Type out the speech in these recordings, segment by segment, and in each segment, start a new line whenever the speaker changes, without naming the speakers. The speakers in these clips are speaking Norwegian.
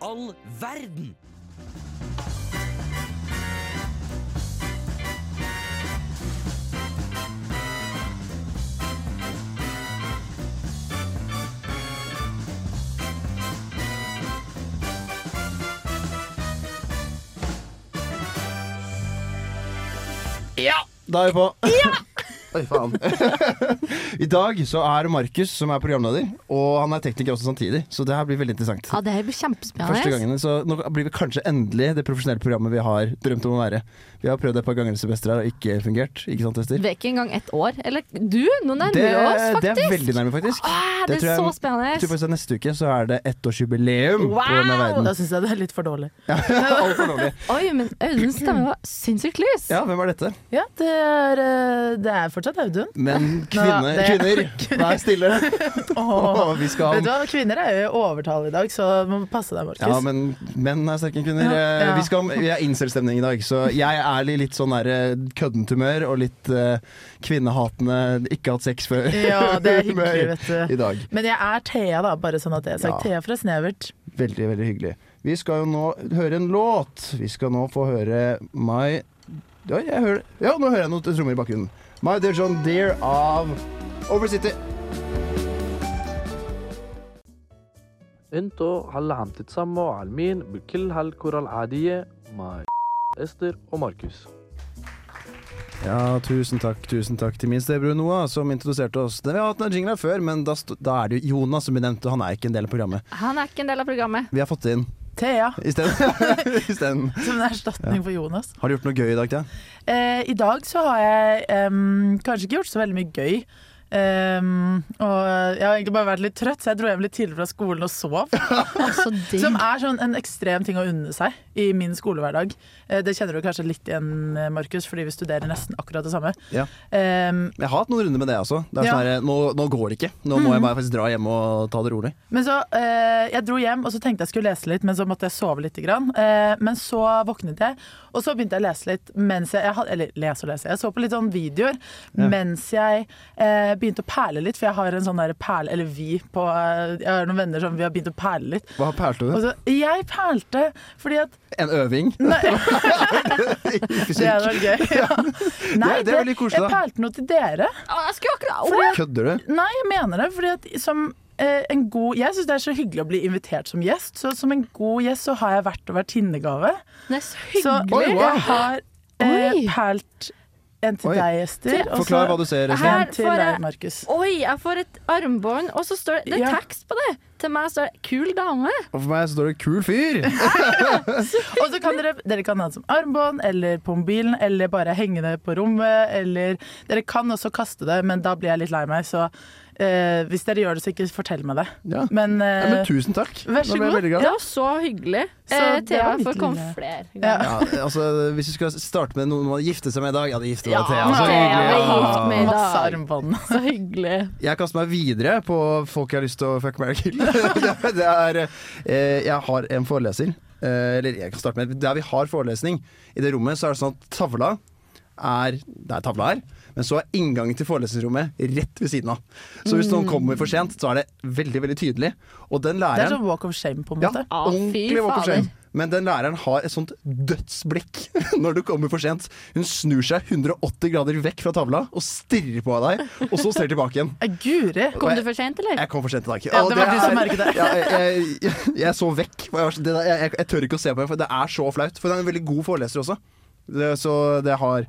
all verden?
Da er vi på. Oi, faen. I dag så er det Markus som er programleder, og han er tekniker også samtidig. Så det her blir veldig interessant.
Ja, det her blir
Første
kjempespennende.
gangen, så Nå blir vi kanskje endelig det profesjonelle programmet vi har drømt om å være. Vi har prøvd det et par ganger i semesteret her og ikke fungert. Ikke sant, Ester?
Det er ikke engang ett år. Eller du, nå nærmer
Det,
vi oss
det
faktisk.
er veldig nærme, faktisk.
Åh,
det tror
det, er
jeg-
så
Jeg tror
spennende.
faktisk at Neste uke så er det ettårsjubileum på denne
Wow!
verden.
Da syns jeg det er litt for dårlig.
Altfor dårlig.
Oi, men Audun stemme var sinnssykt lys.
Ja, hvem er dette?
Ja, det er, eh, det er fortsatt Audun.
Men kvinner, kvinner
det-
vær stille! Åh, vi skal
Vet du hva, Kvinner er jo i overtall i dag, så du må passe deg, Markus.
Ja, men menn er sterke enn kvinner. Eh,
Ja, ja.
Vi, skal, vi er incel-stemning i dag, så jeg er i litt sånn der, eh, køddent humør og litt eh, kvinnehatende, ikke hatt sex før.
Ja, det er hyggelig,
humør
vet du.
I dag.
Men jeg er Thea, da, bare sånn at det er
Ja.
sagt. Thea fra Snevert.
Veldig, veldig hyggelig. Vi skal jo nå høre en låt. Vi skal nå få høre My Ja, jeg hører Ja, nå hører jeg noen trommer i bakgrunnen. My Dear John Deere av Over City.
انتوا هلا عم تتسمعوا على المين بكل هالكرة العادية مع استر وماركوس
Ja, tusen takk, tusen takk til min stebror Noah, som introduserte oss. Vi har hatt den jingla før, men da, sto- da er det jo Jonas som vi nevnte, han er ikke en del av programmet.
Han er ikke en del av programmet.
Vi har fått inn
Thea,
isteden. Isteden.
som en erstatning for Jonas.
Har du gjort noe gøy i dag, Thea?
Eh, I dag så har jeg em, kanskje ikke gjort så veldig mye gøy. Em, og jeg har egentlig bare vært litt trøtt, så jeg dro hjem litt tidligere fra skolen og sov.
Altså, det
Som er sånn en ekstrem ting å unne seg i min skolehverdag. Eh, Det kjenner du kanskje litt igjen, eh, Markus, fordi vi studerer nesten akkurat det samme. Ehm,
Ja.
Em,
Jeg har hatt noen runder med det også. Det er
Ja. Mhm.
sånn her, nå, nå går det ikke. Nå må jeg bare faktisk dra hjem og ta det rolig.
men så, eh, Jeg dro hjem og så tenkte jeg skulle lese litt, men så måtte jeg sove litt. Grann. Eh, men så våknet jeg, og så begynte jeg å lese litt mens jeg, jeg had- Eller lese og lese. Jeg så på litt sånn videoer mens jeg eh, begynte å perle litt, for jeg har en sånn der perle... Eller vi på eh, Jeg har noen venner som vi har begynt å perle litt.
Hva perlte
Og
du?
så, jeg perlte fordi at
En øving? I
Det
fysikk.
hadde vært gøy. Ja. Nei,
det er veldig koselig,
Jeg
da.
pælte noe til dere.
Å, jeg skulle akkurat Å,
Fordi,
Kødder du?
nei, jeg mener det. Fordi at som eh, en god Jeg syns det er så hyggelig å bli invitert som gjest, så som en god gjest så har jeg vært og vertinnegave.
Det er så
Så
hyggelig.
Oi, wow.
jeg har eh,
Oi.
pælt en til
Oi.
deg, Ester. og så
Forklar hva du ser. Espen.
Her
En til
får jeg-
deg, Markus.
Oi, jeg får et armbånd, og så står det, det
Ja.
er tekst på det. Til meg står det 'kul dame'.
Og for meg så står det 'kul fyr'.
Og så kan dere, dere kan ha det som armbånd, eller på mobilen, eller bare henge det på rommet, eller Dere kan også kaste det, men da blir jeg litt lei meg, så eh, hvis dere gjør det, så ikke fortell meg det.
Ja.
Men,
Ja, men
eh,
tusen takk.
vær
Nå
så
ble jeg
god.
veldig glad.
Det var så hyggelig.
Så
eh,
det
Thea
er mitt
får komme
lille-
flere
Ja.
ganger.
Ja, altså, hvis vi skal starte med noen man gifter seg med i dag, ja, det gifter
Ja,
meg Thea. Så
Thea,
hyggelig.
jeg er gift
Ja.
med- i dag.
Masse armbånd.
Så hyggelig.
Jeg kaster meg videre på folk jeg har lyst til å fuck, marry, kill. det er, det er, eh, jeg har en foreleser. Eh, eller jeg kan starte med Der vi har forelesning, i det rommet, så er det sånn at tavla er Det er tavla her, men så er inngangen til forelesningsrommet rett ved siden av. Så hvis noen kommer for sent, så er det veldig veldig tydelig. Og den
Det er
læreren
sånn walk of shame, på en
Ja,
måte.
Ah, fy
ordentlig var for
fader.
sent. Men den læreren har et sånt dødsblikk når du kommer for sent. Hun snur seg 180 grader vekk fra tavla og stirrer på deg, og så ser tilbake igjen.
Eh, Guri!
Kom du for sent, eller?
Jeg kom for sent i dag.
Ja,
Og
det var du som
er-
merket det.
Ja, jeg, jeg, jeg så vekk. for Jeg, var så- det der- jeg, jeg, jeg tør ikke å se på henne, for det er så flaut. For hun er en veldig god foreleser også. Det, så det har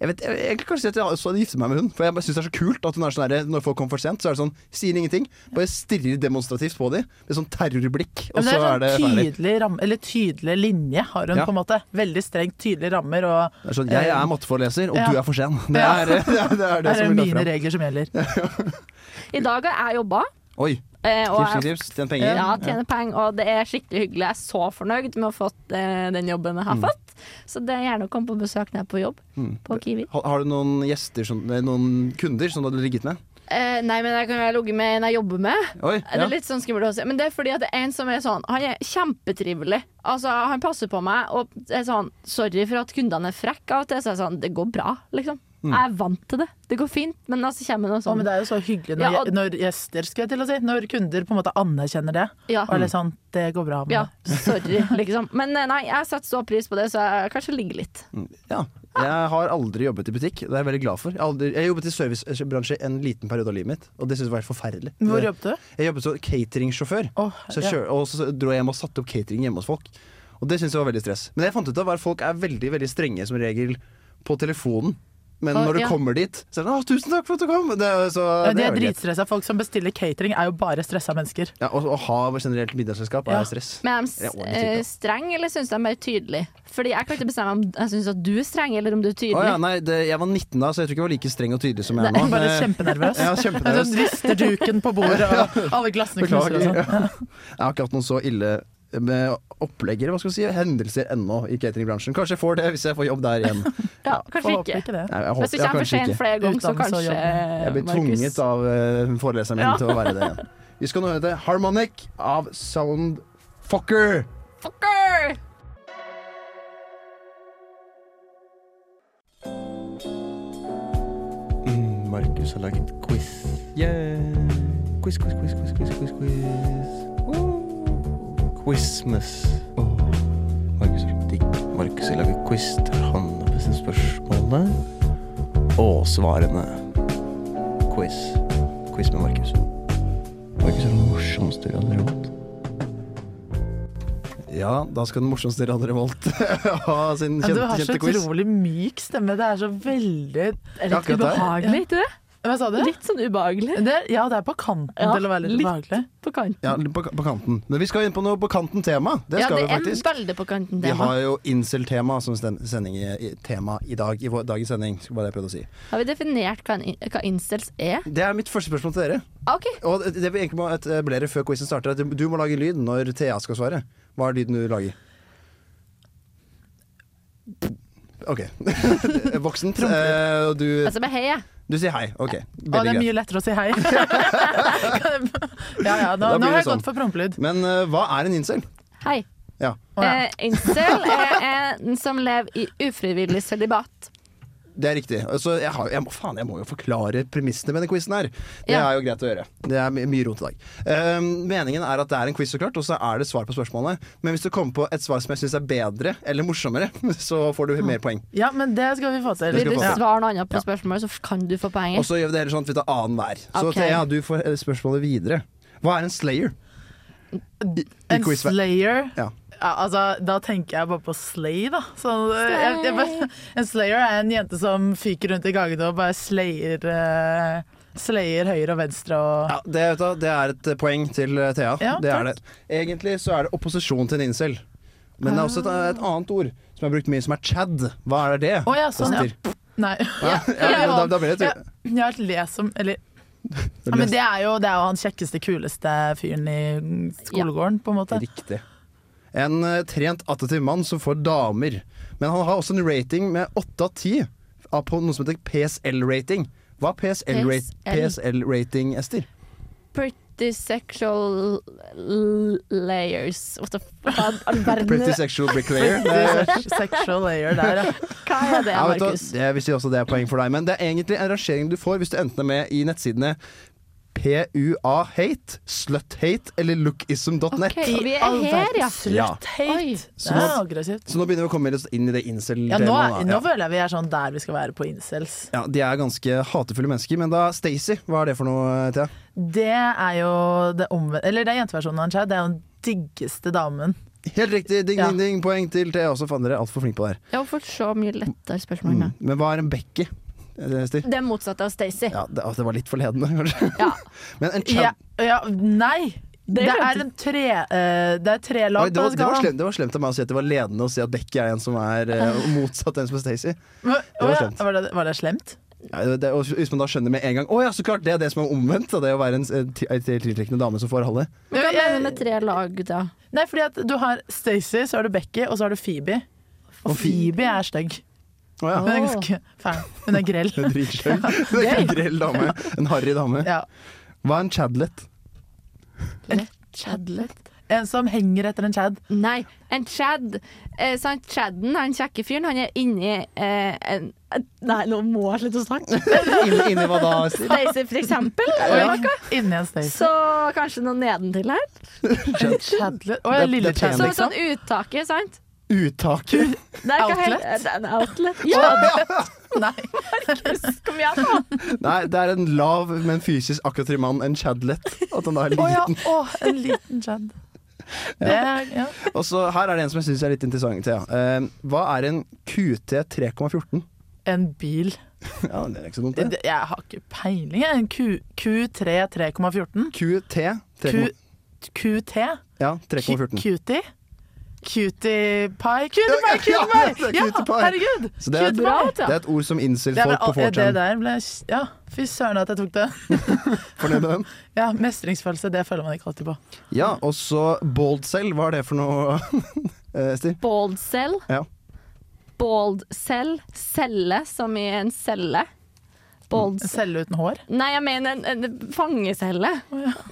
jeg vet, jeg, jeg kan kanskje si at jeg også hadde giftet meg med hun For jeg bare synes det er så kult at hun er sånn der, Når folk kommer for sent, så er det sånn Sier ingenting, bare stirrer demonstrativt på dem Med sånn terrorblikk
Men
Og
det
så
er
er det
sånn
ferdig
tydelig, ramme, eller tydelig linje har hun,
Ja.
på en måte. Veldig strengt, tydelige rammer. Og
Det er sånn, jeg er matteforeleser, og
Ja.
du er for sen. Det
Ja.
er det, er, det, er det
her er
som
det
vi
mine
la fram.
regler som gjelder.
I dag har jeg jobba.
Oi,
eh, og
tips,
jeg-
tips, tips. Tjen penger.
Ja, tjene penger, og det er skikkelig hyggelig. Jeg er så fornøyd med å ha fått eh, den jobben jeg har fått. Så det er gjerne å komme på besøk når jeg er på jobb, på Kiwi.
Har, har du noen gjester, som, nei, noen kunder som du hadde ligget med?
Eh, nei, men jeg kan jo ligge med en jeg jobber med.
Oi,
Det er litt sånn skummelt å si. Men det er fordi at det er en som er sånn Han er kjempetrivelig. Altså, han passer på meg og er sånn Sorry for at kundene er frekke av og til. Så er jeg sånn Det går bra, liksom. Jeg er vant til det. Det går fint, men altså kommer det noe
Å,
sånn.
men det er jo så hyggelig når,
Ja, og-
gje- når gjester skal jeg til å si, når kunder på en måte anerkjenner det.
Ja.
Og er litt sånn, det går bra med
Ja, sorry, liksom. Men eh, nei, jeg setter stor pris på det, så jeg kanskje ligger litt.
Ja. Jeg har aldri jobbet i butikk, det er jeg veldig glad for. Jeg, har aldri, jeg jobbet i servicebransje en liten periode av livet mitt, og det syntes jeg var helt forferdelig.
det. Hvor jobbet du?
Jeg jobbet som catering-sjåfør.
Å,
Så jeg
ja.
kjør, og så dro jeg hjem og satte opp catering hjemme hos folk. Og det syntes jeg var veldig stress. Men jeg fant ut av at folk er veldig veldig strenge som regel på telefonen. Men
Å,
når du
ja.
kommer dit, så er det sånn «Å, 'Tusen takk for at du kom!' Det, er- så,
Ja,
det
de
er
er
jo greit.
dritstressa. Folk som bestiller catering, er jo bare stressa mennesker.
Ja, og, å ha generelt middagsselskap er
Ja.
stress.
Men
Det
er
er
de
ordentlig fint,
eh,
da.
streng, eller syns de er mer tydelig? Fordi jeg kan ikke bestemme om jeg syns at du er streng, eller om du er
Å
tydelig.
ja, nei, det, jeg var 19 da, så jeg tror ikke jeg var like streng og tydelig som jeg er
Nei,
nå.
Bare
Eh,
kjempenervøs.
Ja,
Jeg
kjempenervøs.
sånn rister duken på bordet, og alle glassene knuser og
Beklager.
altså.
sånn.
Jeg har ikke hatt noen så ille med opplegger, hva skal vi si, hendelser ennå i cateringbransjen. Kanskje jeg får det hvis jeg får jobb der igjen.
Ja,
Får
kanskje
håpe
ikke.
ikke det.
Nei, jeg håper,
Hvis du
ja,
kommer for
kanskje
sent
ikke.
flere ganger, så
Utdannelse og
kanskje
Jeg blir
Markus.
tvunget av eh, foreleseren min
Ja.
til å være det igjen. Vi skal nå høre til Harmonic av Soundfucker.
Fucker!
Markus har laget quiz. Yeah. Quiz, quiz, quiz, quiz, quiz, quiz, quiz. Quizmas. Markus er så digg. Markus har laget quiz der han har bestemt spørsmålene og svarene. Quiz. Quiz med Markus. Markus er den morsomste vi har hatt.
Ja, da skal den morsomste dere hadde valgt ha sin
Men du
kjente,
har så
kjente quiz.
utrolig myk stemme. Det er så veldig
Er
Ja,
litt
akkurat der.
ubehagelig, ikke det?
Hva sa du?
Litt sånn ubehagelig.
Det, er- ja, det er på kanten
Ja,
til å være litt
litt.
ubehagelig.
På kanten.
Ja, på, på kanten. Men vi skal inn på noe på kanten-tema. Det
Ja,
skal vi
det er
faktisk.
veldig på kanten.
Vi
tema.
har jo incel-tema som stem- sending i, i, tema i dag. I vår, dagens sending, skal bare det jeg prøvde å si.
Har vi definert hva, en in- hva incels er?
Det er mitt første spørsmål til dere.
Ah, OK.
Og det vi egentlig må etablere før quizen starter, er at du må lage lyd når Thea skal svare. Hva er lyden du lager? OK. Voksent. Eh, og du,
Altså med hei, jeg.
du sier hei. OK.
Å, det
Veldig
er
greit.
mye lettere å si hei. Kan jeg- ja, ja, nå,
Da blir
nå har
det
jeg gått
sånn.
for promplyd.
Men eh, hva er en incel?
Hei.
Ja.
Å, ja.
Eh, incel er en som lever i ufrivillig sølibat.
Det er riktig. Altså, jeg, har, jeg, må, faen, jeg må jo forklare premissene med denne quizen her. Det
Ja.
er jo greit å gjøre. Det er my mye rot i dag. Ehm, meningen er at det er en quiz, så klart, og så er det svar på spørsmålene. Men hvis du kommer på et svar som jeg syns er bedre eller morsommere, så får du mer poeng.
ja, men det skal vi få til.
Det
Vil
skal
du
få.
svare noe annet på
Ja.
spørsmålet, så kan du få
Og
poenget.
så gjør vi det heller sånn at vi tar annen hver. Så
Ok.
Thea, du får eh, spørsmålet videre. Hva er en slayer? I, i
En
quiz-
slayer
Ja.
ja, altså, Da tenker jeg bare på slay, da. Så, jeg, jeg, bare- en slayer er en jente som fyker rundt i gangene og bare slayer, eh, slayer høyre og venstre og
Ja, det, vet du, det er et eh, poeng til eh, Thea.
Ja,
det er det. Egentlig så er det opposisjon til en incel. Men det er også et, et annet ord som jeg har brukt mye, som er chad. Hva er det?
Ah. Å ja, sånn, ja.
Ester?
Nei.
Ja,
Ja,
da, da blir det
ja, jeg har lest om Eller ja, men det er, jo, det er jo han kjekkeste, kuleste fyren i skolegården, på en måte.
Riktig. En eh, trent, attraktiv mann som får damer. Men han har også en rating med 8 av 10 av- på noe som heter PSL-rating. Hva er PSL-rating, PSL. rating Ester?
Pretty sexual l- layers What the fuck? All
Pretty
verden.
sexual bricklayer. Det-
Sexual layer der, ja.
Hva er det,
Ja, vet du,
Markus?
det, jeg vil si også det er poeng for deg, men det er egentlig en rangering du får hvis du enten er med i nettsidene PUA-hate, sluthate eller lookism.net.
Ok, vi er
All
her, ja.
verdens Slutt
Oi.
hate. Det
Så
er
nå-
aggressivt.
Så nå begynner vi å komme litt inn i det incel-temaet.
Ja, nå,
da.
er- nå
Ja.
føler jeg vi er sånn der vi skal være på incels.
Ja, De er ganske hatefulle mennesker, men da Stacey, hva er det for noe, Thea?
Det er jo det omvendte Eller det er jenteversjonen av en Chad. Det er jo den diggeste damen.
Helt riktig, ding,
Ja.
ding, ding, poeng til Thea også. Faen, dere er altfor flinke på det her.
Jeg har fått så mye lettere spørsmål nå.
Men hva er en bekke? Ester?
Det motsatte av Stacey.
Ja, det, altså, det var litt forledende, kanskje.
Ja.
Men en
Ja,
chad
ja, nei! Det
skjønte-
er en tre eh, Det er tre lag
Oi, det,
på
var, det, var
skalaen.
slemt, det var slemt av meg å si at det var ledende å si at Bekke er en som er eh, motsatt en som er Stacey.
Hva-
var
Å ja,
slemt.
Var, det, var det slemt?
Ja, det- det- og hvis man da skjønner med en gang Å ja, så klart! Det er det som er omvendt. Da, det er å være en eh, ti- en tiltrekkende dame som får halve.
Hva
Jeg-
mener du med tre lag, da?
Nei, fordi at du har Stacey, så har du Becky, og så har du Phoebe. Og
Og Phoe-
Phoebe er stygg.
Å ja.
Hun er ganske fæl. Hun er grell.
En dritskjønn. Det er En grell dame. En harry dame.
Ja.
Hva er en chadlet?
Chadlet. En som henger etter en Chad.
Nei, en Chad. Eh, så han Chadden, han kjekke fyren, han er inni eh, en Nei, nå må jeg slutte å snakke.
Inni inni hva da? Ester?
Stacey, for eksempel. eller noe.
Inni en Stacey.
Så kanskje noe nedentil her.
Chadler. Å ja,
Det-
lille
det er pen,
Chad,
Så
liksom.
sånn uttaket, sant?
Uttaket?
Det er ikke
Outlet?
helt- det er Eh, en outlet. Ja,
Nei.
kom igjen, da!
Nei, det er en lav, men fysisk akkurat mann, en Chadlet. At han da er
Å ja,
liten.
å, en liten Chad. Det er, ja.
Og så her er det en som jeg syns er litt interessant, Thea. Eh, hva er en QT 3,14?
En bil.
Ja, det er ikke så dumt, det.
Det- Jeg har ikke peiling, jeg. En Q, Q3 3,14.
QT 3,
Q- QT?
ja, 3,14.
Cutie? Cutie pie? Cutie pie, cutie
Ja, det
pie!
er
Ja,
cutie pie.
herregud!
Så det er-
Cutie
Bra,
pie.
Det
Tia.
er et ord som
Det, er
incel-folk på
vel- det
4chan.
der ble Ja, fy søren at jeg tok det.
Fornøyd med den?
Ja, Mestringsfølelse, det føler man ikke alltid på.
Ja, og så bold cell, hva er det for noe, eh, Ester?
Bald cell.
Ja.
Bald cell. Celle som i en celle.
Mm.
Bald
En
cell.
celle uten hår.
Nei, jeg mener en, en fangecelle.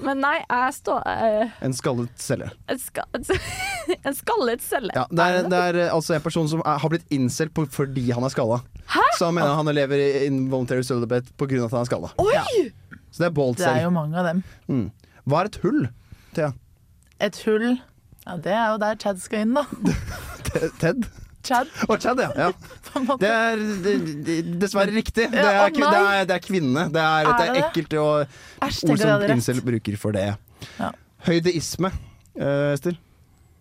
Men nei, jeg står eh,
En skallet celle.
en, ska, en skallet celle.
Ja, det er, det er eh, altså en person som er, har blitt incel på, fordi han er skalla. Så han mener han lever i involuntary celibate på grunn av at han er skalla.
Oi!
Så det er bold
Det er
cell.
jo mange av dem.
Hva er et hull? Thea?
Et hull Ja, det er jo der Chad skal inn, da.
Te- Ted?
Chad,
Å, Chad, ja. ja.
på en måte.
Det er det- det- dessverre riktig. Det
Ja,
er,
å
det er, det er kvinne. Det er, det
Er
er
det
ekkelt og
Æsj,
ord
tenker jeg
som
hadde rett.
incel bruker for det.
Ja.
Høydeisme, eh, Ester.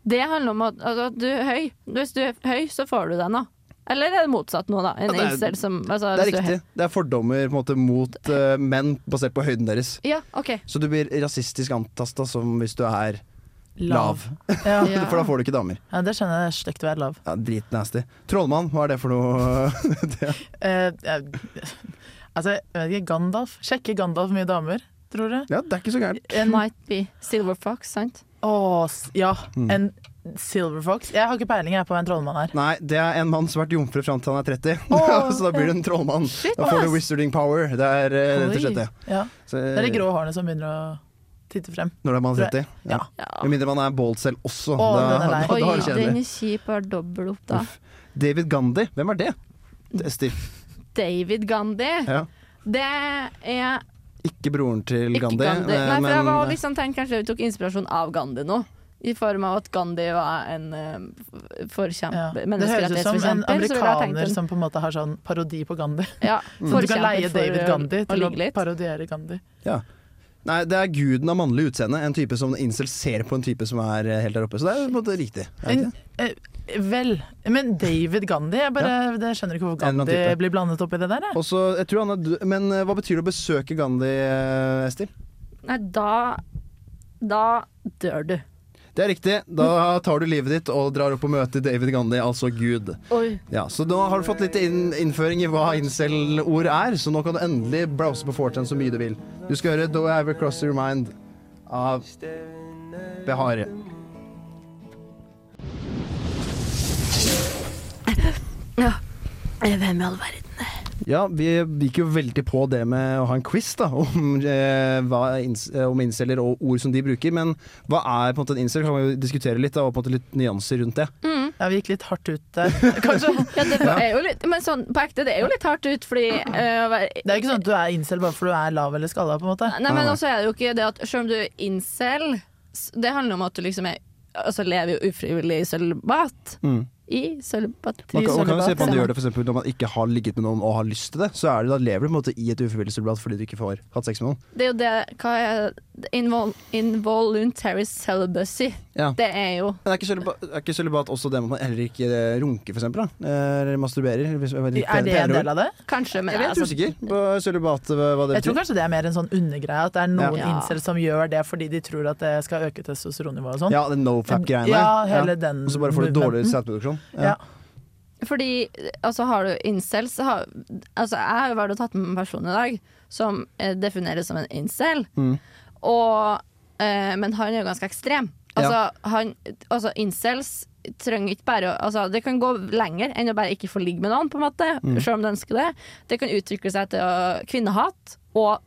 Det handler om at, at du er høy. Hvis du er høy, så får du deg noe. Eller er det motsatt nå, da? En
Ja, det er-
incel som altså,
Det er
hvis du
riktig. Det er fordommer på en måte, mot eh, menn basert på høyden deres.
høy. Ja, OK.
Så du blir rasistisk antasta som hvis du er lav.
Ja.
Ja.
For da får du ikke damer.
ja, det skjønner jeg. Det er stygt å være lav.
Ja, Dritnasty. Trollmann, hva er det for noe? Det-
Eh, jeg, altså, jeg vet ikke, Gandalf. Sjekker Gandalf mye damer, tror du?
ja, det er ikke så gærent.
En
Might be silver fox, sant?
Åh, s- ja.
Mm.
En silver fox. Jeg har ikke peiling, jeg er på en trollmann her.
Nei, det er en mann som har vært jomfru fram til han er 30.
Åh.
så da blir du en trollmann. Da får du wizarding power. Det er eh, rett og slett det. Eh.
Ja.
Så,
Det er de grå hårene som begynner å titte frem.
Når det er man 30.
Ja.
Ja.
Med mindre man er bald selv også.
Åh,
da,
den er lei.
da,
Oi,
da er det
den
kjedelig.
er kjip og har dobbel opp, da.
Uff. David Gandhi, hvem er det? Det er Steve.
David Gandhi.
Ja.
Det er
Ikke broren til
ikke
Gandhi. eh,
Gandhi. Nei, for jeg var
men-
liksom tenkt Kanskje vi tok inspirasjon av Gandhi nå. I form av at Gandhi var en eh,
Ja.
forkjemper,
Det høres
menneskerettighetsforkjemper.
ut som en
så ville jeg tenkt
amerikaner
en-
som på en måte har sånn parodi på Gandhi.
ja,
Så du kan
forkjemper
leie
for
David
å-
Gandhi
å
til å
ligge litt.
parodiere Gandhi.
Ja. Nei, det er guden av mannlig utseende. En type som incel ser på en type som er eh, helt der oppe. Så det er på en måte riktig. er det
En,
ikke det?
eh, vel, men David Gandhi jeg bare, det skjønner ikke hvorfor
En eller annen
Gandhi
type.
blir blandet opp i det der. Jeg.
Og så, jeg tror han er død, men eh, hva betyr det å besøke Gandhi, eh, Ester?
Nei, da Da dør du.
Det er riktig. Da tar du livet ditt og drar opp og møter David Gandhi, altså Gud.
Oi.
Ja, Så nå har du fått litt inn, innføring i hva incel-ord er, så nå kan du endelig browse på 4chan så mye du vil. Du skal høre Do I Ever Cross Your Mind av Behare.
Hvem i all verden?
Ja, vi gikk jo veldig på det med å ha en quiz da, om, eh, hva er ins- eh, om incel og ord som de bruker. Men hva er på en måte en incel? Kan vi jo diskutere litt da, og på en måte litt nyanser rundt det.
Ja, vi gikk litt hardt ut der, kanskje.
Ja, det er jo litt Men sånn på ekte, det er jo litt hardt ut, fordi eh, å være-
Det er jo ikke sånn at du er incel bare fordi du er lav eller skalla, på en måte.
Nei,
Nei,
men
nei.
også er det jo ikke det at selv om du er incel, s- det handler om at du liksom er Altså lever jo ufrivillig i sølibat.
Mm.
I sølibat.
Man kan, man kan jo se på om
sølibat.
de gjør det for eksempel, når man ikke har ligget med noen og har lyst til det. Så er det, da lever du på en måte i et ufrivillig celebrat fordi du ikke får hatt sex med noen.
Det er jo det Hva er det? invol Involuntary celibacy.
Ja.
Det er jo
Men er ikke celibat, er ikke celibat også det med at man heller ikke eh, runker, for eksempel? Da? Eh, Eller masturberer? Hvis, jeg vet ikke,
Er det en del av det?
kanskje
Jeg
men
er litt
altså,
usikker på celibat, hva hva det
Jeg tror
betyr.
kanskje det er mer en sånn undergreie, at det er noen
Ja.
incel som gjør det fordi de tror at det skal øke testosteronnivået og sånn.
Ja, den nofap-greiene.
Ja, hele den
Og så bare får du dårlig
movementen.
sædproduksjon.
Ja.
Fordi altså, har du incels så har, altså, Jeg har jo vært og tatt med meg en person i dag som eh, defineres som en incel.
Mm.
Og, eh, men han er jo ganske ekstrem. Altså, han, altså incels trenger ikke bare å altså, Det kan gå lenger enn å bare ikke få ligge med noen, på en måte,
Mm.
selv om du ønsker det. Det kan utvikle seg til å, kvinnehat, og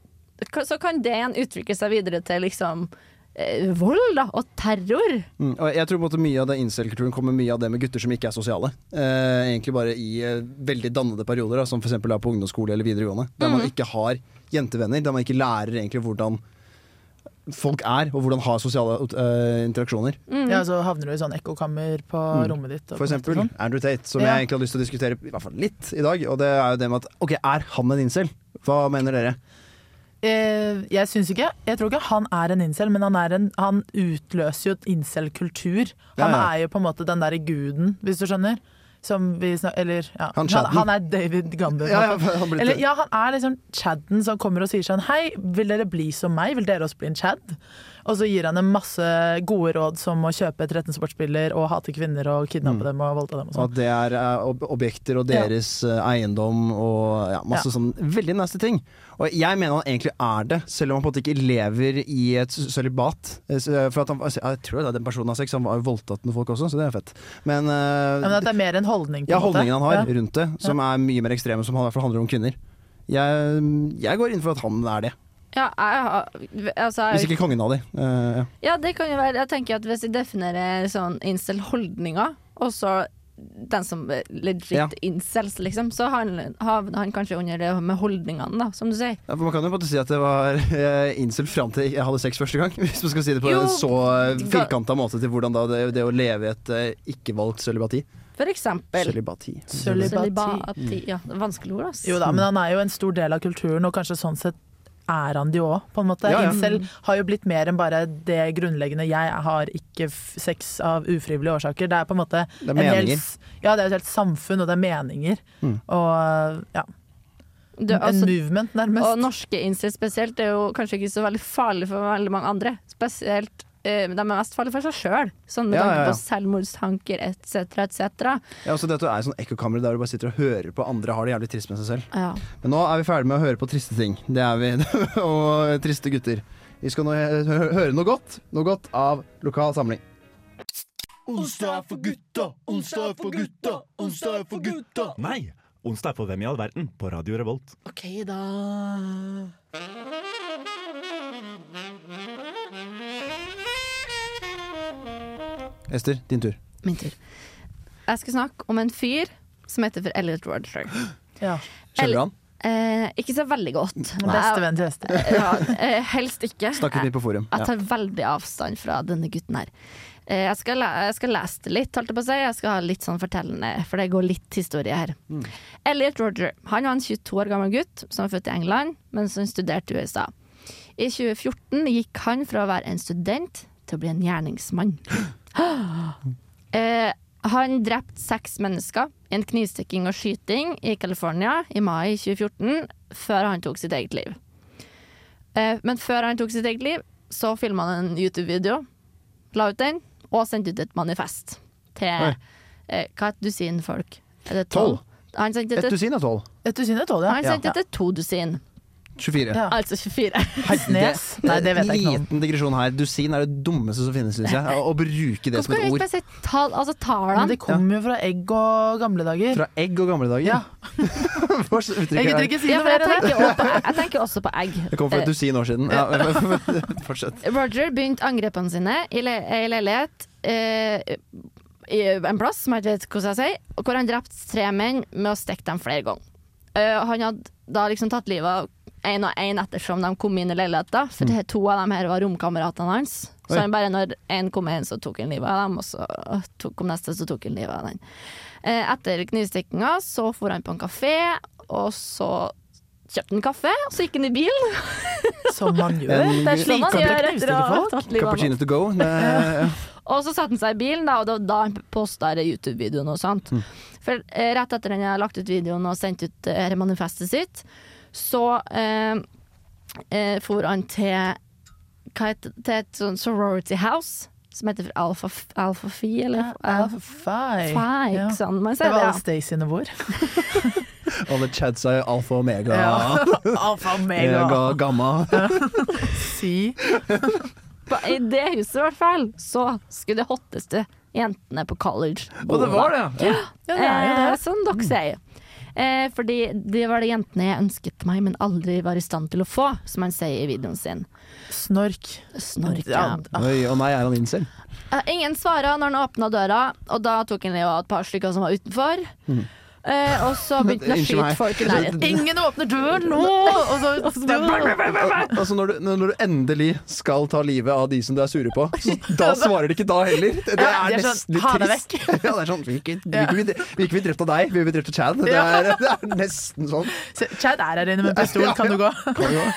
ka- så kan det igjen utvikle seg videre til liksom eh, vold da, og terror.
Mm. Og jeg tror på en måte mye av den incel-kulturen kommer mye av det med gutter som ikke er sosiale. Eh, egentlig bare i eh, veldig dannede perioder, da, som f.eks. på ungdomsskole eller videregående. Der
Mhm.
man ikke har jentevenner, der man ikke lærer egentlig hvordan folk er, og hvordan har sosiale eh, interaksjoner.
Ja, så havner du i sånn ekkokammer på rommet ditt. og
For
på nett og
eksempel
sånn.
Andrew Tate, som
Ja.
jeg egentlig har lyst til å diskutere i hvert fall litt i dag. Og det er jo det med at OK, er han en incel? Hva mener dere?
Eh, jeg syns ikke Jeg tror ikke han er en incel, men han, er en, han utløser jo et incel-kultur. Han
Ja, ja.
er jo på en måte den derre guden, hvis du skjønner. Som vi snak, eller ja.
Han
han,
Chadden.
han er David Gamber.
Ja, ja, han blir-
eller, ja, han er liksom Chadden som kommer og sier sånn Hei, vil dere bli som meg? Vil dere også bli en Chad? Og så gir han en masse gode råd som å kjøpe 13 sportsbiler og hate kvinner og kidnappe
Mm.
dem og voldta dem og
Og
sånn.
At det er eh, ob- objekter og
Ja.
deres eh, eiendom og ja, masse
Ja.
sånn veldig nasty ting. Og jeg mener han egentlig er det, selv om han på en måte ikke lever i et s- sølibat. Eh, s- eh, For at han, altså, jeg tror det er den personen har sex, han var jo voldtatt med folk også, så det er fett. Men, eh,
Ja, men at det er mer en holdning. på
ja,
en måte.
holdningen han har
Ja.
rundt det, som er mye mer ekstrem, som han i hvert fall handler om kvinner. Jeg, jeg går inn for at han er det,
Ja, jeg, har- altså, jeg,
hvis ikke kongen av de. Eh, ja.
Ja, det kan jo være. Jeg tenker at Hvis jeg definerer sånn incel-holdninger, og så den som er legit
Ja.
incels, liksom, så havner havner han kanskje under det med holdningene, da, som du sier.
Ja, for Man kan jo bare si at det var eh, incel fram til jeg hadde sex første gang. Hvis man skal si det på
Jo,
en så
ga-
firkanta måte til hvordan da det, det å leve et eh, ikke-valgt sølibati.
For eksempel.
Sølibati.
Sølibati.
Sølibati. Ja, det er vanskelig ord, ass.
Jo da, men han er jo en stor del av kulturen, og kanskje sånn sett er han det òg, på en måte.
Ja, ja.
Incel har jo blitt mer enn bare det grunnleggende 'jeg har ikke f- sex av ufrivillige årsaker'. Det er på en måte
Det er
en hel
meninger. Mm.
s- Ja, det er jo et helt samfunn, og det er meninger. Og ja,
Du,
en
altså,
movement, nærmest.
og norske incels spesielt er jo kanskje ikke så veldig farlig for veldig mange andre. Spesielt eh, de er mest farlige for seg sjøl, sånn med
Ja,
tanke
ja, ja.
på selvmordstanker etc. etc.
Ja, også det at du er i sånn ekkokammer der du bare sitter og hører på andre har det jævlig trist med seg selv.
Ja.
Men nå er vi ferdig med å høre på triste ting. Det er vi. og eh, triste gutter. Vi skal nå hø- hø- høre noe godt. Noe godt av lokal samling.
Onsdag er for gutta, onsdag er for gutta, onsdag er for gutta.
Nei! Onsdag er for Hvem i all verden? på Radio Revolt.
Ester, din tur.
Min tur. Jeg skal snakke om en fyr som heter for Elliot Rodger.
ja.
Eller-
Skjønner du han?
Eh, ikke så veldig godt.
Bestevenn til hester.
Jeg- Ja, eh, helst ikke.
Snakket
Jeg,
mye på forum.
jeg
Ja.
tar veldig avstand fra denne gutten her. Eh, jeg, skal le- jeg skal lese det litt, holdt jeg på å si. Jeg skal ha litt sånn fortellende, for det går litt historie her. Elliot Roger han var en 22 år gammel gutt som var født i England, men som studerte i USA. I 2014 gikk han fra å være en student til å bli en gjerningsmann. Eh, han drepte seks mennesker i en knivstikking og skyting i California i mai 2014, før han tok sitt eget liv. Eh, men før han tok sitt eget liv, så filma han en YouTube-video, la ut den, og sendte ut et manifest til
Oi.
eh, hva et dusin folk? Er det
Tolv.
tolv? Han sendte
Et
det,
dusin er tolv.
Et dusin er tolv,
han
ja.
sendte det til to dusin,
24.
Ja.
altså 24.
Snes. Nei, det vet jeg ikke noe om.
Liten digresjon her. Dusin er det dummeste som finnes, syns jeg. Å- Å bruke det
Hvorfor
som et
kan du ikke
ord.
bare si tall, altså
Men
tallene?
det kommer jo fra egg og gamle dager.
Fra egg og gamle dager.
ja.
Hva slags uttrykk
Jeg
er
gidder
det?
ikke si
Ja,
noe
for jeg
mer enn det.
tenker, også på, jeg tenker også på egg. Eh,
Det kom for et dusin år siden. Ja, fortsett.
Roger begynte angrepene sine i, le i leilighet eh, i en plass som jeg ikke vet hvordan jeg sier, og hvor han drepte tre menn med å stikke dem flere ganger. Eh, og han hadde da liksom tatt livet av én og én ettersom de kom inn i leiligheten, for det- to av dem her var romkameratene hans. Så
Oi.
han bare når én kom inn, så tok han livet av dem, og så tok, kom neste, så tok han livet av den. Eh, etter knivstikkinga så for han på en kafé, og så kjøpte han kaffe, og så gikk han i bilen.
Som man gjør.
En-
Det er
Sånn han
slitsomt å
gjør etter å
knivstikke
ha
folk.
tatt livet av noen.
Cappuccino to go. Det,
Og så satte han seg i bilen, da, og det var da han posta YouTube-videoen og sånt. For eh, rett etter han hadde lagt ut videoen og sendt ut eh, dette manifestet sitt, så eh, eh, for han til, hva heter, til et sånn sorority house som heter for Alpha, F- Alpha Phi, eller Alpha
Fei.
Phi,
Ja.
ikke sant? Man
Det
sier
var
det,
alle
ja.
Stacyene våre.
alle chads er jo alfa og omega.
Alfa
Omega, gamma.
Si.
På- I det huset, i hvert fall, så skulle de hotteste jentene på college bo
Og det var det, ja.
Ja, det er jo det.
Eh, som dere sier. Eh, fordi det var det jentene jeg ønsket meg, men aldri var i stand til å få, som han sier i videoen sin.
Snork.
Snork, ja.
Ja, ah,
Oi, og nei, er han incel?
Eh, Ingen svara når han åpna døra, og da tok han jo et par stykker som var utenfor.
Mm.
Eh, og så begynte han å
Unnskyld meg.
skyte folk i nærheten.
Ingen åpner døren nå! Og så,
Altså når du, når du endelig skal ta livet av de som du er sure på, så da svarer de ikke da heller. Det det
altså. Ja,
er
de er sånn,
nesten litt
ha det
trist. Ja, det er sånn, vi ikke- vi ikke bli- vi ikke bli drept av deg, vi blir drept av Chad. Det er, det er nesten sånn.
Se, Chad er her inne med pistol, kan du gå?
Kan du gå?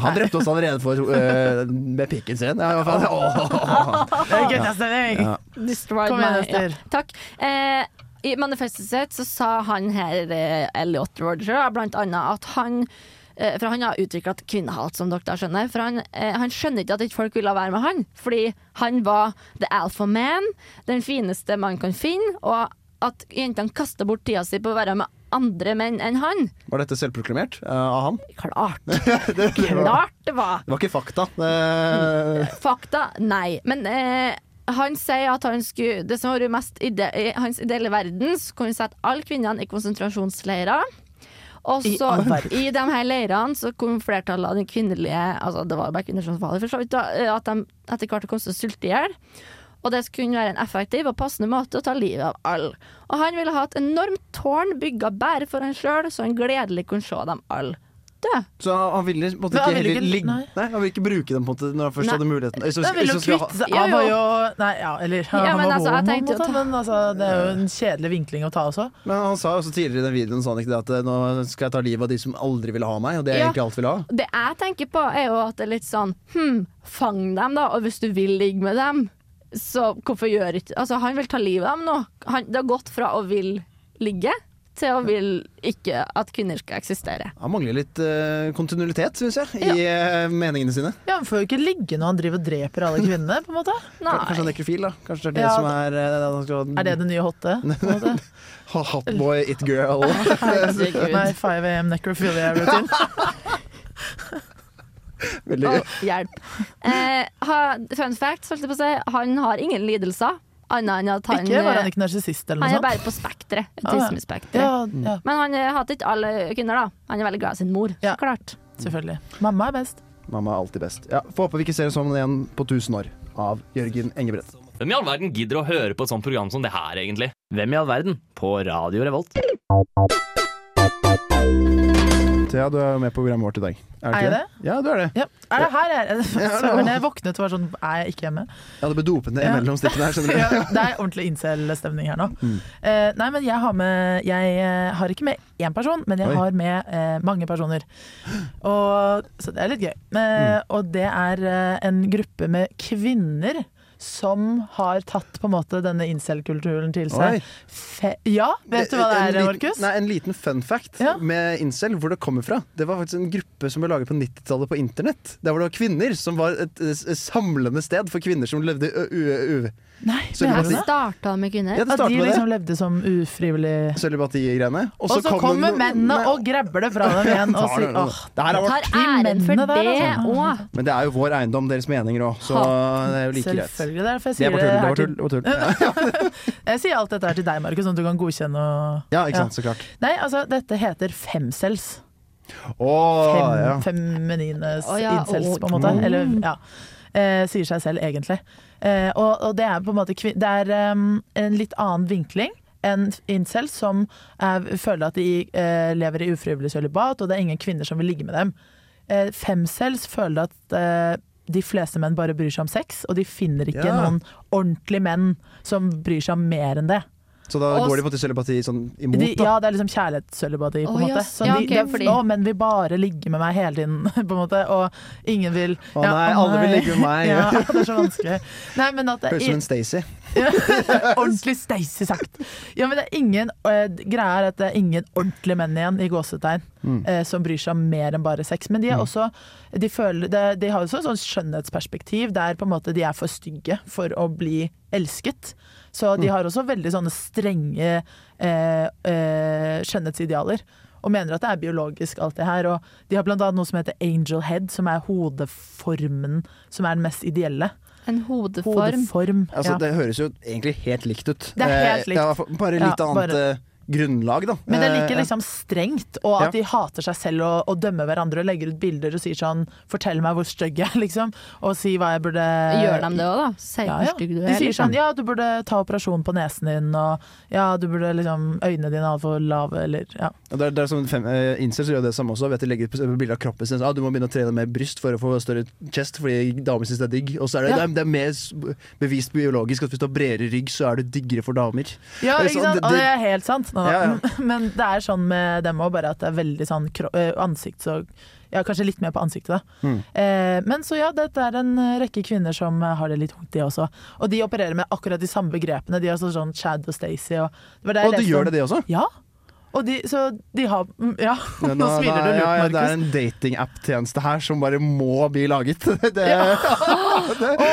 Han drepte oss allerede for, eh, med pikken sin. Ja, hva faen? Åh.
Det er guttastemning.
Ja.
Destroyed
Kom igjen,
my-
Ester.
Ja, takk. Eh, I manifestet sitt så sa han her, eh, Elliot Roger, blant annet at han eh, For han har utvikla et kvinnehat, som dere da skjønner. For han, eh, han skjønner ikke at ikke folk ville være med han. Fordi han var the alpha man, den fineste man kan finne. Og at jentene kaster bort tida si på å være med andre menn enn han.
Var dette selvproklamert eh, av han?
Klart!
Det, det, var,
Klart det var!
det var ikke fakta. Det,
Eh,
Fakta, nei. Men eh, han sier at han skulle, det som har vært mest ide i hans ideelle verden, så kunne han sette alle kvinnene i konsentrasjonsleirer. Og
I
så
all verden.
i de her leirene så kom flertallet av de kvinnelige altså Det var jo bare kvinner som var der, for så vidt. da, eh, At de etter hvert kom til å sulte i hjel. Og det skulle kunne være en effektiv og passende måte å ta livet av alle. Og han ville ha et enormt tårn bygga bare for han sjøl, så han gledelig kunne se dem alle dø.
Så han han ville på en måte
Men
ikke
han ville
heller
ikke-
ligge
nei.
Nei, han ville ikke bruke dem på en måte når han først
Nei.
hadde muligheten. Eller så-
Han ville
så
jo
skulle
kvitte seg
Jo,
Han var
jo.
jo Nei, ja, eller han
Ja, men
var
altså, jeg
homo, på en
tenkte jo
måte,
ta-
men altså, det er jo en kjedelig vinkling å ta også.
ha- Men han sa jo også tidligere i den videoen sa han ikke det at eh, nå skal jeg ta livet av de som aldri ville ha meg, og det er
Ja.
egentlig alt jeg vil ha.
Det jeg tenker på, er jo at det er litt sånn Hm, fang dem, da. Og hvis du vil ligge med dem, så hvorfor gjør ikke Altså, han vil ta livet av dem nå. Han, det har gått fra å vil ligge til å vil ikke at kvinner skal eksistere.
Han mangler litt eh, kontinuitet, syns jeg, i eh, meningene sine.
Ja, Han får jo ikke ligge når han driver og dreper alle kvinnene, på en måte.
Nei.
Kanskje
sånn
han er nekrofil, da. Kanskje det er det
Ja,
som er eh, han skal-
Er det det nye hotte? på en måte?
Ha- Hotboy, it girl.
Nei, 5 AM necrophilia routine.
Veldig
Å, hjelp. Eh, ha, fun fact, holdt jeg på å si, han har ingen lidelser. Annet enn at han
Ikke var han ikke narsissist eller
han er
noe sånt?
bare på spekteret.
Ah, ja.
Autismespekteret.
Ja,
Mm.
ja,
Men han eh, hater ikke alle kvinner, da. Han er veldig glad i sin mor,
Ja.
så klart.
selvfølgelig. Mamma er best.
Mamma er alltid best. Ja, Får håpe vi ikke ser en sånn igjen på 1000 år, av Jørgen Engebrett.
Hvem i all verden gidder å høre på et sånt program som det her, egentlig? Hvem i all verden? På Radio Revolt.
Thea, du er jo med på programmet vårt i dag. Er, du
Er jeg
ikke det? Ja, du er det.
Ja. Er det her jeg er?
det er-
Søren, jeg våknet og var sånn Er jeg ikke hjemme?
Ja, det ble dopende
Ja.
mellom stikkene her, skjønner du.
Ja, det er ordentlig incel-stemning her nå.
Mm.
Eh, nei, men jeg har med Jeg eh, har ikke med én person, men jeg
Oi.
har med eh, mange personer. Og, så det er litt gøy. Eh,
Mm.
Og det er eh, en gruppe med kvinner som har tatt på en måte denne incel-kulturen til
Oi.
seg. Fe ja, vet du hva det
En
er,
liten-
Markus?
Nei, En liten fun fact
Ja.
med incel, hvor det kommer fra. Det var faktisk en gruppe som ble laget på 90-tallet på internett. Der hvor det var kvinner, som var et, eh, samlende sted for kvinner som levde i ø- u- u-
Nei,
Så kan
det er
man
det
si-
det?
Starta med kvinner.
Ja, det
At
startet
de
med
liksom
det.
levde som ufrivillig
Sølibatigreiene.
Og så kommer mennene og grabber det fra dem igjen
Tar
og
det
sier
nå.
åh,
Det her er vårt.
Tar æren for
Kvinnene der,
det
altså.
òg.
Men det er jo vår eiendom, deres meninger òg, så det er jo like greit.
selvfølgelig. Det er derfor jeg
Det
sier
var
det,
tull, det
her
var tull.
til
Det var tull.
Jeg sier alt dette her til deg, Markus, sånn at du kan godkjenne og
Ja, ikke sant. Så klart.
Nei, altså, dette heter femcells.
Å,
Fem,
Ah, ja.
Feminine
Å, ja,
incels,
å,
på en måte.
mm.
Eller, ja. Eh, sier seg selv, egentlig. Eh, og, og det er på en måte kvin Det er em, en litt annen vinkling enn incels, som er, føler at de eh, lever i ufrivillig sølibat, og det er ingen kvinner som vil ligge med dem. Eh, femcells føler at eh, de fleste menn bare bryr seg om sex, og de finner ikke
Ja.
noen ordentlige menn som bryr seg om mer enn det.
Så da
Og
går
s-
de på til celibati sånn
De,
imot, da.
ja, det er liksom kjærlighetssølvbati, på en
Å,
måte.
ja,
Sånn,
ja,
de,
ok,
de,
fordi-
Å, menn vil bare ligge med meg hele tiden, på en måte. Og ingen vil
Å nei, alle vil ligge med meg.
ja, det er så vanskelig. Nei, men at det
Høres ut som en Stacey.
er ordentlig Stacey sagt. Ja, men det er ingen eh, Greia er at det er ingen ordentlige menn igjen, i gåsetegn, eh, som bryr seg om mer enn bare sex. Men de er også De, føler, de, de har jo også et sånt skjønnhetsperspektiv der på en måte de er for stygge for å bli elsket. Så de har også veldig sånne strenge eh, eh, skjønnhetsidealer. Og mener at det er biologisk, alt det her. Og de har blant annet noe som heter angel head, som er hodeformen som er den mest ideelle.
En hodeform.
Hodeform.
Altså,
ja.
Det høres jo egentlig helt likt ut.
Det er helt
Eh, ja, for- bare
Ja,
litt annet
bare-
eh, grunnlag, da.
Men det er
Eh,
like liksom strengt, og at de hater seg selv og, og dømmer hverandre og legger ut bilder og sier sånn 'fortell meg hvor stygg jeg er', liksom, og si hva jeg burde
Gjør de det òg, da? Sier
Ja,
hvor
ja.
stygg du
De
er.
sier
liksom.
sånn 'ja, du burde ta operasjon på nesen din', og 'ja, du burde liksom øynene dine er altfor lave', eller ja.
Og Det er, det er som fem, eh, incels gjør det samme også. Vet, de legger ut bilder av kroppen sin. sånn, Ah, du må begynne å trene mer bryst for å få større chest, fordi damer syns det er digg. Og så er det,
Ja.
det, er, det er mer s- bevist biologisk at hvis du har bredere rygg, så er du diggere for damer.
Ja,
Det er sånn,
ikke sant?
det-
Og det er helt sant. Nå, da.
Ja,
Men det er sånn med dem òg, bare at det er veldig sånn kro eh, ansikts- og Ja, kanskje litt mer på ansiktet, da.
Mm.
Eh, men så ja, dette er en eh, rekke kvinner som eh, har det litt tungt, de også. Og de opererer med akkurat de samme begrepene. De har sånn- sånn Chad og Stacey og det var det jeg
Og du
leste
gjør
om.
det, det også?
Ja. Og de, så de har mm, Ja,
Ja,
nå smiler du
ja, ja,
lurt,
Det er
Markus.
en datingapp-tjeneste her som bare må bli laget. Det,
Å,
det- det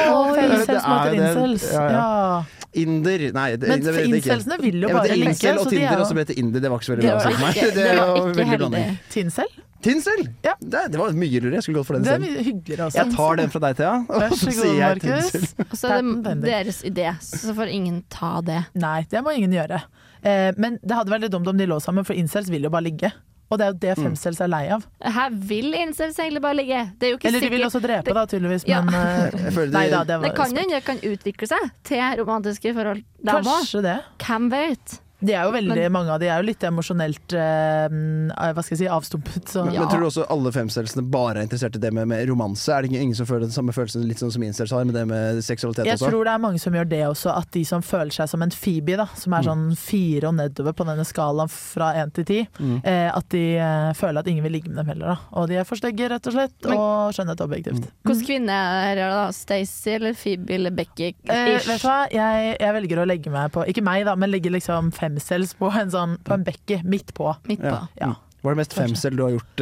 incels
er
mot
det.
incels.
Ja,
Ja,
ja. Inder Nei, det,
Men
det vet jeg ikke.
incelsene vil jo
Ja, men
bare linke.
Incel og
så de er
Tinder,
jo-
og så ble det Inder. Det var ikke så veldig
Det
bra.
var
for
sånn.
meg.
ikke- det var
var
ikke
veldig
heldig.
blanding.
Tinsel?
Tinsel!
Ja.
Det, det var mye lurere. Jeg skulle gått for den
Det er
selv.
mye hyggeligere også.
Jeg tar den fra deg, Thea.
Vær
Og
så
så
god,
sier jeg
Markus.
Tinsel.
Og så er
Patent
det
pending.
deres idé, så får ingen ta det.
Nei, det må ingen gjøre. Eh, men det hadde vært litt dumt om de lå sammen, for incels vil jo bare ligge. Og det er jo
Mm.
det femcels er lei av.
Her vil incels egentlig bare ligge. Det er jo ikke
Eller de vil
sikkert-
også drepe,
det-
da, tydeligvis.
Ja.
Men eh,
Jeg føler
nei da,
det-
det
Det
var
kan jo hende det kan utvikle seg til romantiske forhold, dem òg.
Kanskje det.
Hvem vet?
De er jo veldig,
Men-
Mange av de er jo litt emosjonelt eh, hva skal jeg si, avstumpet. Så.
Men, men tror du også alle femcelsene bare er interessert i det med, med romanse? Er det ingen, ingen som føler den samme følelsen litt sånn som incels har, med det med seksualitet
Jeg
også?
tror det er mange som gjør det også, at de som føler seg som en Phoebe, da, som
Mm.
er sånn fire og nedover på denne skalaen fra én til ti,
Mm.
eh, at de eh, føler at ingen vil ligge med dem heller. Da. Og de er for stygge, rett og slett,
Men-
og skjønnhet er objektivt.
Hvilken kvinne er det da? Stacey eller Phoebe eller Becky?
Eh,
Ish.
vet du hva, jeg, jeg velger å legge meg på Ikke meg, da, men legge liksom femcels på en sånn På en bekke midt på.
Midt på.
Ja. Mm.
Ja.
Hva er det mest
Kanskje.
femcel du har gjort?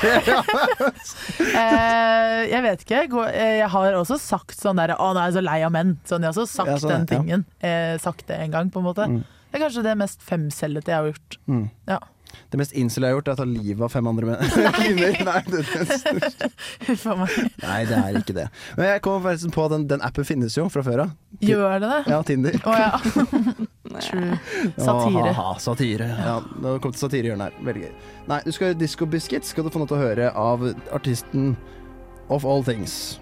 eh?
Eh, jeg vet ikke. gå- eh, Jeg har også sagt sånn derre Å, nå er jeg så lei av menn. Sånn, jeg har også sagt
Ja, sånn, ja.
den tingen. Eh, sagt det en gang, på en måte. Det er kanskje det mest femcellete jeg har gjort.
Mm.
Ja.
Det mest incel jeg har gjort, er å ta livet av fem andre menn. kvinner. Nei, det, det,
Huff a meg.
nei, det er ikke det. Men jeg kom forresten på at den, den appen finnes jo fra før av.
Gjør det det?
Ja, Tinder.
Å ja. True.
Åh,
Satire.
haha, satire. Ja, nå kom det satirehjørnet her. Veldig gøy. Nei, du skal høre Disco Biscuit. Skal du få noe til å høre av artisten Of All Things.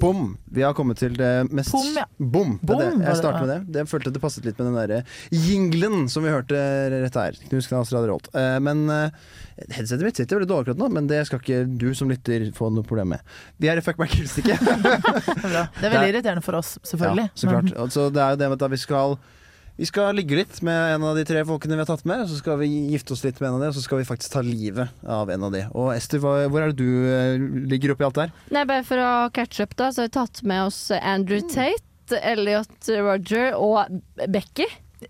Bom! Vi har kommet til det mest
Bom, ja.
Bom, det er det.
Bom, var
Jeg
det,
starter med det. det. Jeg følte det passet litt med den derre jinglen som vi hørte rett her. Knus Knas Radio Revolt. Eh, Men eh, headsetet mitt sitter veldig dårlig akkurat nå, men det skal ikke du som lytter få noe problem med. Vi er i Fuck Back Hilstikke.
Det er bra. Det er
Nei.
veldig irriterende for oss, selvfølgelig.
Ja, så
Men-
klart. Altså, det er jo det med at vi skal vi skal ligge litt med en av de tre folkene vi har tatt med. Så skal vi gifte oss litt med en av de, og så skal vi faktisk ta livet av en av de. Og Ester, hva, hvor er det du eh, ligger oppi alt der?
Nei, bare for å catche up, da, så har vi tatt med oss Andrew
Mm.
Tate, Elliot Roger og Becky.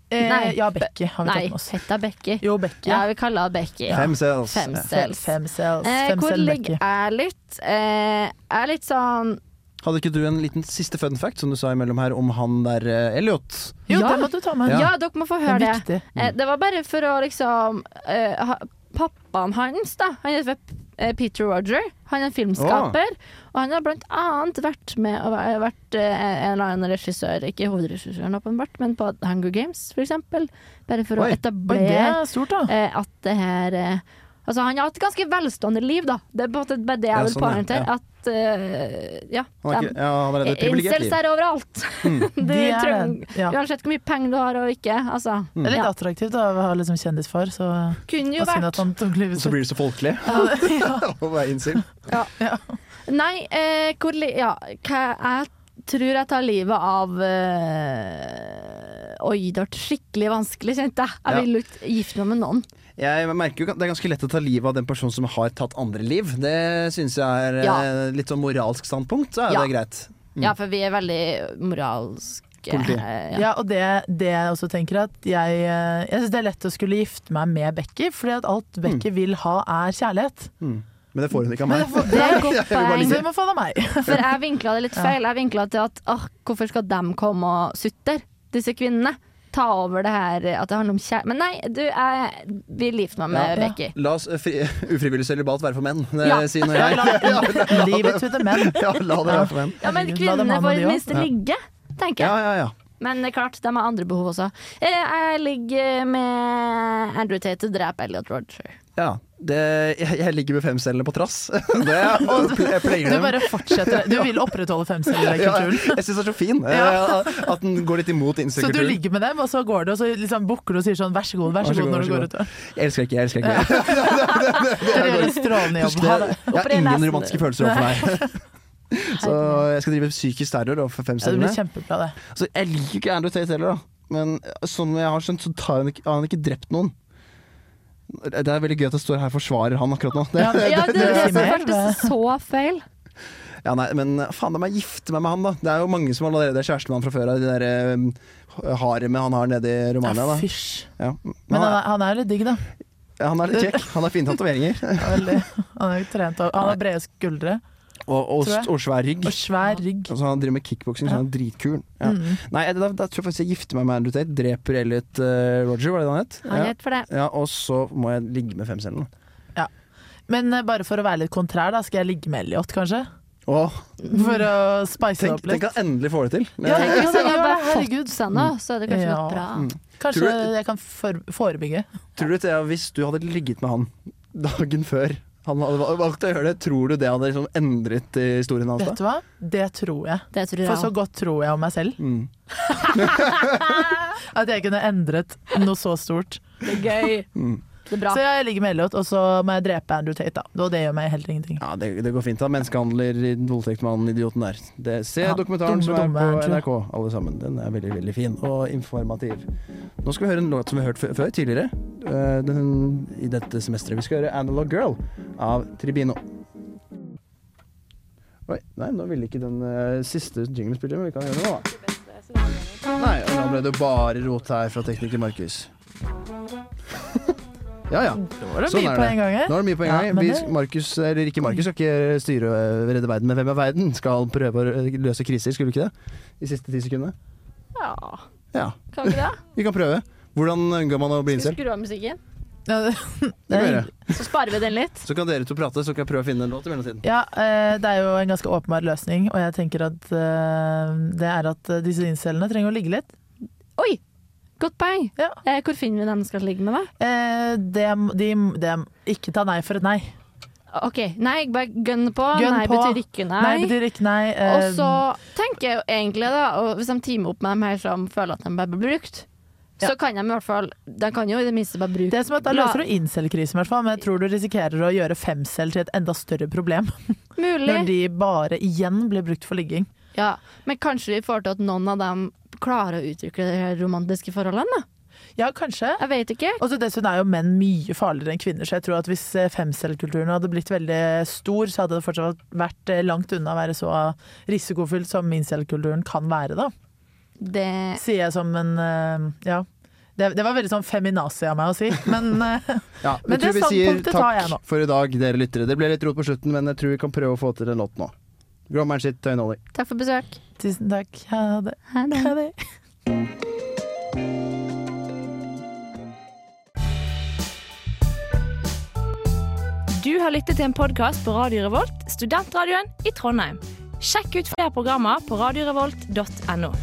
Eh,
Nei.
Ja, Becky har vi
Nei,
tatt med oss.
hetta Becky.
Jo, Becky.
Ja, vi kaller henne Becky.
Fem altså. cells.
Fem
Ja.
cells.
Femcels.
Eh, hvor
Femcel
ligger
Becky.
jeg litt? Eh, jeg er litt sånn
Hadde ikke du en liten siste fun fact som du sa imellom her om han der eh, Elliot?
Jo,
Ja.
det må du ta med.
Ja, dere må få
Det
høre
er
det.
viktig.
Eh, det var bare for å liksom eh, ha, Pappaen hans, da. Han heter eh, Peter Roger. Han er en filmskaper. Og han har blant annet vært med og væ- vært eh, en eller annen regissør, ikke hovedregissøren åpenbart, men på Hunger Games, for eksempel. Bare for
Oi.
å
Oi, det
etablere
er stort, da.
eh, at det her eh, Altså, han har hatt et ganske velstående liv, da. Det er på en måte bare det jeg
Ja,
vil
sånn, ja.
poengtere.
Ja.
At eh, ja.
Han er
dem-
ikke, ja, han er et privilegert
Incels
liv. Mm.
er overalt. De
De er
treng,
det, ja.
Uansett hvor mye penger du har og ikke. Altså.
Mm.
Det er litt
Ja.
attraktivt da, å ha liksom kjendisfar, så
Kunne jo
og synd
vært.
at han tok livet
Så
sitt.
blir du så folkelig
Ja.
å være incel.
Nei, eh, hvor li ja, hva jeg tror jeg tar livet av eh, Oi, det ble skikkelig vanskelig, kjente jeg.
Ja.
Jeg vil jo ikke gifte meg med noen.
Jeg merker jo at Det er ganske lett å ta livet av den personen som har tatt andre liv. Det syns jeg er eh,
Ja.
litt sånn moralsk standpunkt, så er
Ja.
det greit.
Ja, for vi er veldig moralske.
Mm. Politi.
eh, ja.
Ja, og det, det jeg også tenker at jeg, eh, jeg syns det er lett å skulle gifte meg med Becky, fordi at alt Becky vil ha, er kjærlighet.
Men det får hun ikke av
Men
meg.
det får-
Det er et godt poeng,
Så vi må få det av meg.
for jeg vinkla det litt feil. Jeg vinkla til at åh, hvorfor skal dem komme og sutre, disse kvinnene? ta over det her eh, at det handler om kjærlighet. Men nei, du, jeg vil gifte meg med
Ja.
Becky.
La oss eh, fri, ufrivillig sølibat være for menn. eh, Det
Ja.
sier når jeg
Livet to the men.
Ja, la det være for menn.
Ja, men
Herregud, la dem
kvinnene
ha
får
med
i
de
det
også.
minste ligge, tenker jeg.
Ja, ja, ja.
Men det er klart, de har andre behov også. Eh, Jeg ligger med Andrew Tate og dreper Elliot Roger.
ja. Det, jeg, jeg ligger med femcellene på trass. Det, og ple- jeg pleier
Du
dem.
bare fortsetter. Du vil opprettholde
Ja,
femcellekulturen.
jeg syns det er så fin eh,
Ja.
at den går litt imot
Så du
incel-kulturen.
ligger med dem, og så går det, og så liksom bukker du og sier sånn vær så god, vær så god når du går ut.
Jeg elsker ikke, jeg elsker ikke.
Dere gjør en strålende jobb.
Husk det,
Ha det.
jeg har
Opprett nesen.
ingen romantiske følelser overfor meg. Så jeg skal drive psykisk terror overfor
Ja, det blir
femcellene.
kjempebra, det.
Så Altså, jeg liker ikke Andrew Tate heller, da. Men sånn jeg har skjønt, så tar han ikke, har han ikke drept noen. Det er veldig gøy at jeg står her og forsvarer han akkurat nå. Det,
Ja, Eh, det-
Ja, det, det,
det-
det som
det-
føltes så feil.
ja, nei, men eh, faen, jeg må gifte meg med han, da. Det er jo mange som allerede er kjæreste med han fra før av. De der um, haremene han har nede i Romania.
Ja,
Da.
fysj.
Ja.
Men
Han,
han
er,
er, han er litt digg, da.
han er litt kjekk. Han har fine tatoveringer.
Han er Veldig. Han er jo trent og Han har brede skuldre
Og, og,
Tror jeg.
og svær rygg.
og svær rygg.
Altså, han driver med kickboksing, så han er dritkul. Ja.
Mm.
Nei, da, da tror jeg faktisk jeg gifter meg med Andrew Tate. Dreper Elliot eh, Roger, var det det han het?
Han
Ja.
het for det.
Ja, og så må jeg ligge med femcellen.
Men eh, bare for å være litt kontrær, da, skal jeg ligge med Elliot, kanskje?
Åh,
For å spice det
tenk,
opp
tenk
litt.
at jeg endelig får det til.
Ja,
Tenk hvis han
ja,
hadde bare
herregud.
fått seg noe, så hadde det kanskje
Ja. Mm.
vært bra.
Kanskje
Tror du-
jeg kan for forebygge.
Tror du Thea, hvis du hadde ligget med han dagen før han hadde val- valgt å gjøre det, tror du det hadde liksom endret eh, historien hans da?
Vet du hva? Det tror jeg.
Det tror jeg
For så
også.
godt tror jeg om meg selv.
Mm.
At jeg kunne endret noe så stort.
Det er gøy. Det er bra.
Så jeg ligger med Elliot, og så må jeg drepe Andrew Tate, da. Og det gjør meg heller ingenting.
Ja, det, det går fint da. Menneskehandler, voldtekt med han idioten der. Det, se
Ja,
dokumentaren som er
dumme,
på
dumme,
NRK, alle sammen. Den er veldig, veldig fin og informativ. Nå skal vi høre en låt som vi har hørt før, før tidligere. Eh, Den, I dette semesteret. Vi skal høre 'Analog Girl' av Tribino. Oi, nei, nå ville ikke den eh, siste jinglen spille, men vi kan gjøre det nå, da. Nei, og nå ble det bare rot her fra tekniker Markus. ja, ja.
Det var det
Sånn
mye
er
på
det.
en gang eh?
Nå
her.
er det mye på en gang.
Ja, men
Vi-
det-
Markus, eller ikke Markus, skal ikke styre og redde verden, men hvem er verden? Skal prøve å eh, løse kriser, skulle du ikke det? I siste ti sekundene?
Ja,
Ja,
kan vi ikke det?
vi kan prøve. Hvordan unngår man å bli incel?
Skal vi skru av musikken,
Ja, det-
Det kan vi gjøre.
så sparer vi den litt.
Så kan dere to prate, så kan jeg prøve å finne en låt i mellomtiden.
Ja, eh, det er jo en ganske åpenbar løsning, og jeg tenker at eh, det er at eh, disse incellene trenger å ligge litt.
Oi! Godt poeng.
Ja.
Eh, Hvor finner vi dem som skal ligge med, da?
Eh, det, de, de, ikke ta nei for et nei.
OK, nei, bare gønn på.
Gønn
nei
på.
betyr ikke nei.
Nei, betyr ikke nei. eh,
Og så tenker jeg jo egentlig da og Hvis de teamer opp med dem her som føler at de bare blir brukt, så kan de i hvert fall De kan jo i det minste bare bruke
det er som at Da
La-
løser du incel-krisen, i hvert fall, men jeg tror du risikerer å gjøre femcell til et enda større problem.
Mulig.
Når de bare igjen blir brukt for ligging.
Ja. Men kanskje vi får til at noen av dem klarer å utvikle de her romantiske forholdene? da?
Ja, kanskje.
Jeg vet ikke.
Og så Altså, Dessuten er jo menn mye farligere enn kvinner, så jeg tror at hvis eh, femcellkulturen hadde blitt veldig eh, stor, så hadde det fortsatt vært eh, langt unna å være så risikofylt som incellkulturen kan være, da.
Det
Sier jeg som en eh, Ja. Det, det var veldig sånn feminazi av meg å si, men eh,
Ja,
Men
jeg tror
det
vi sier
standpunktet tar jeg
takk
nå.
for i dag, dere lyttere. Det ble litt rot på slutten, men jeg tror vi kan prøve å få til en låt nå. Grommeren sitt, Tøyen Ollie.
Takk for besøk.
tusen takk. Ha det.
Ha det.
Ha det.
Du har lyttet til en podkast på Radio Revolt, studentradioen i Trondheim. Sjekk ut flere programmer på radiorevolt.no.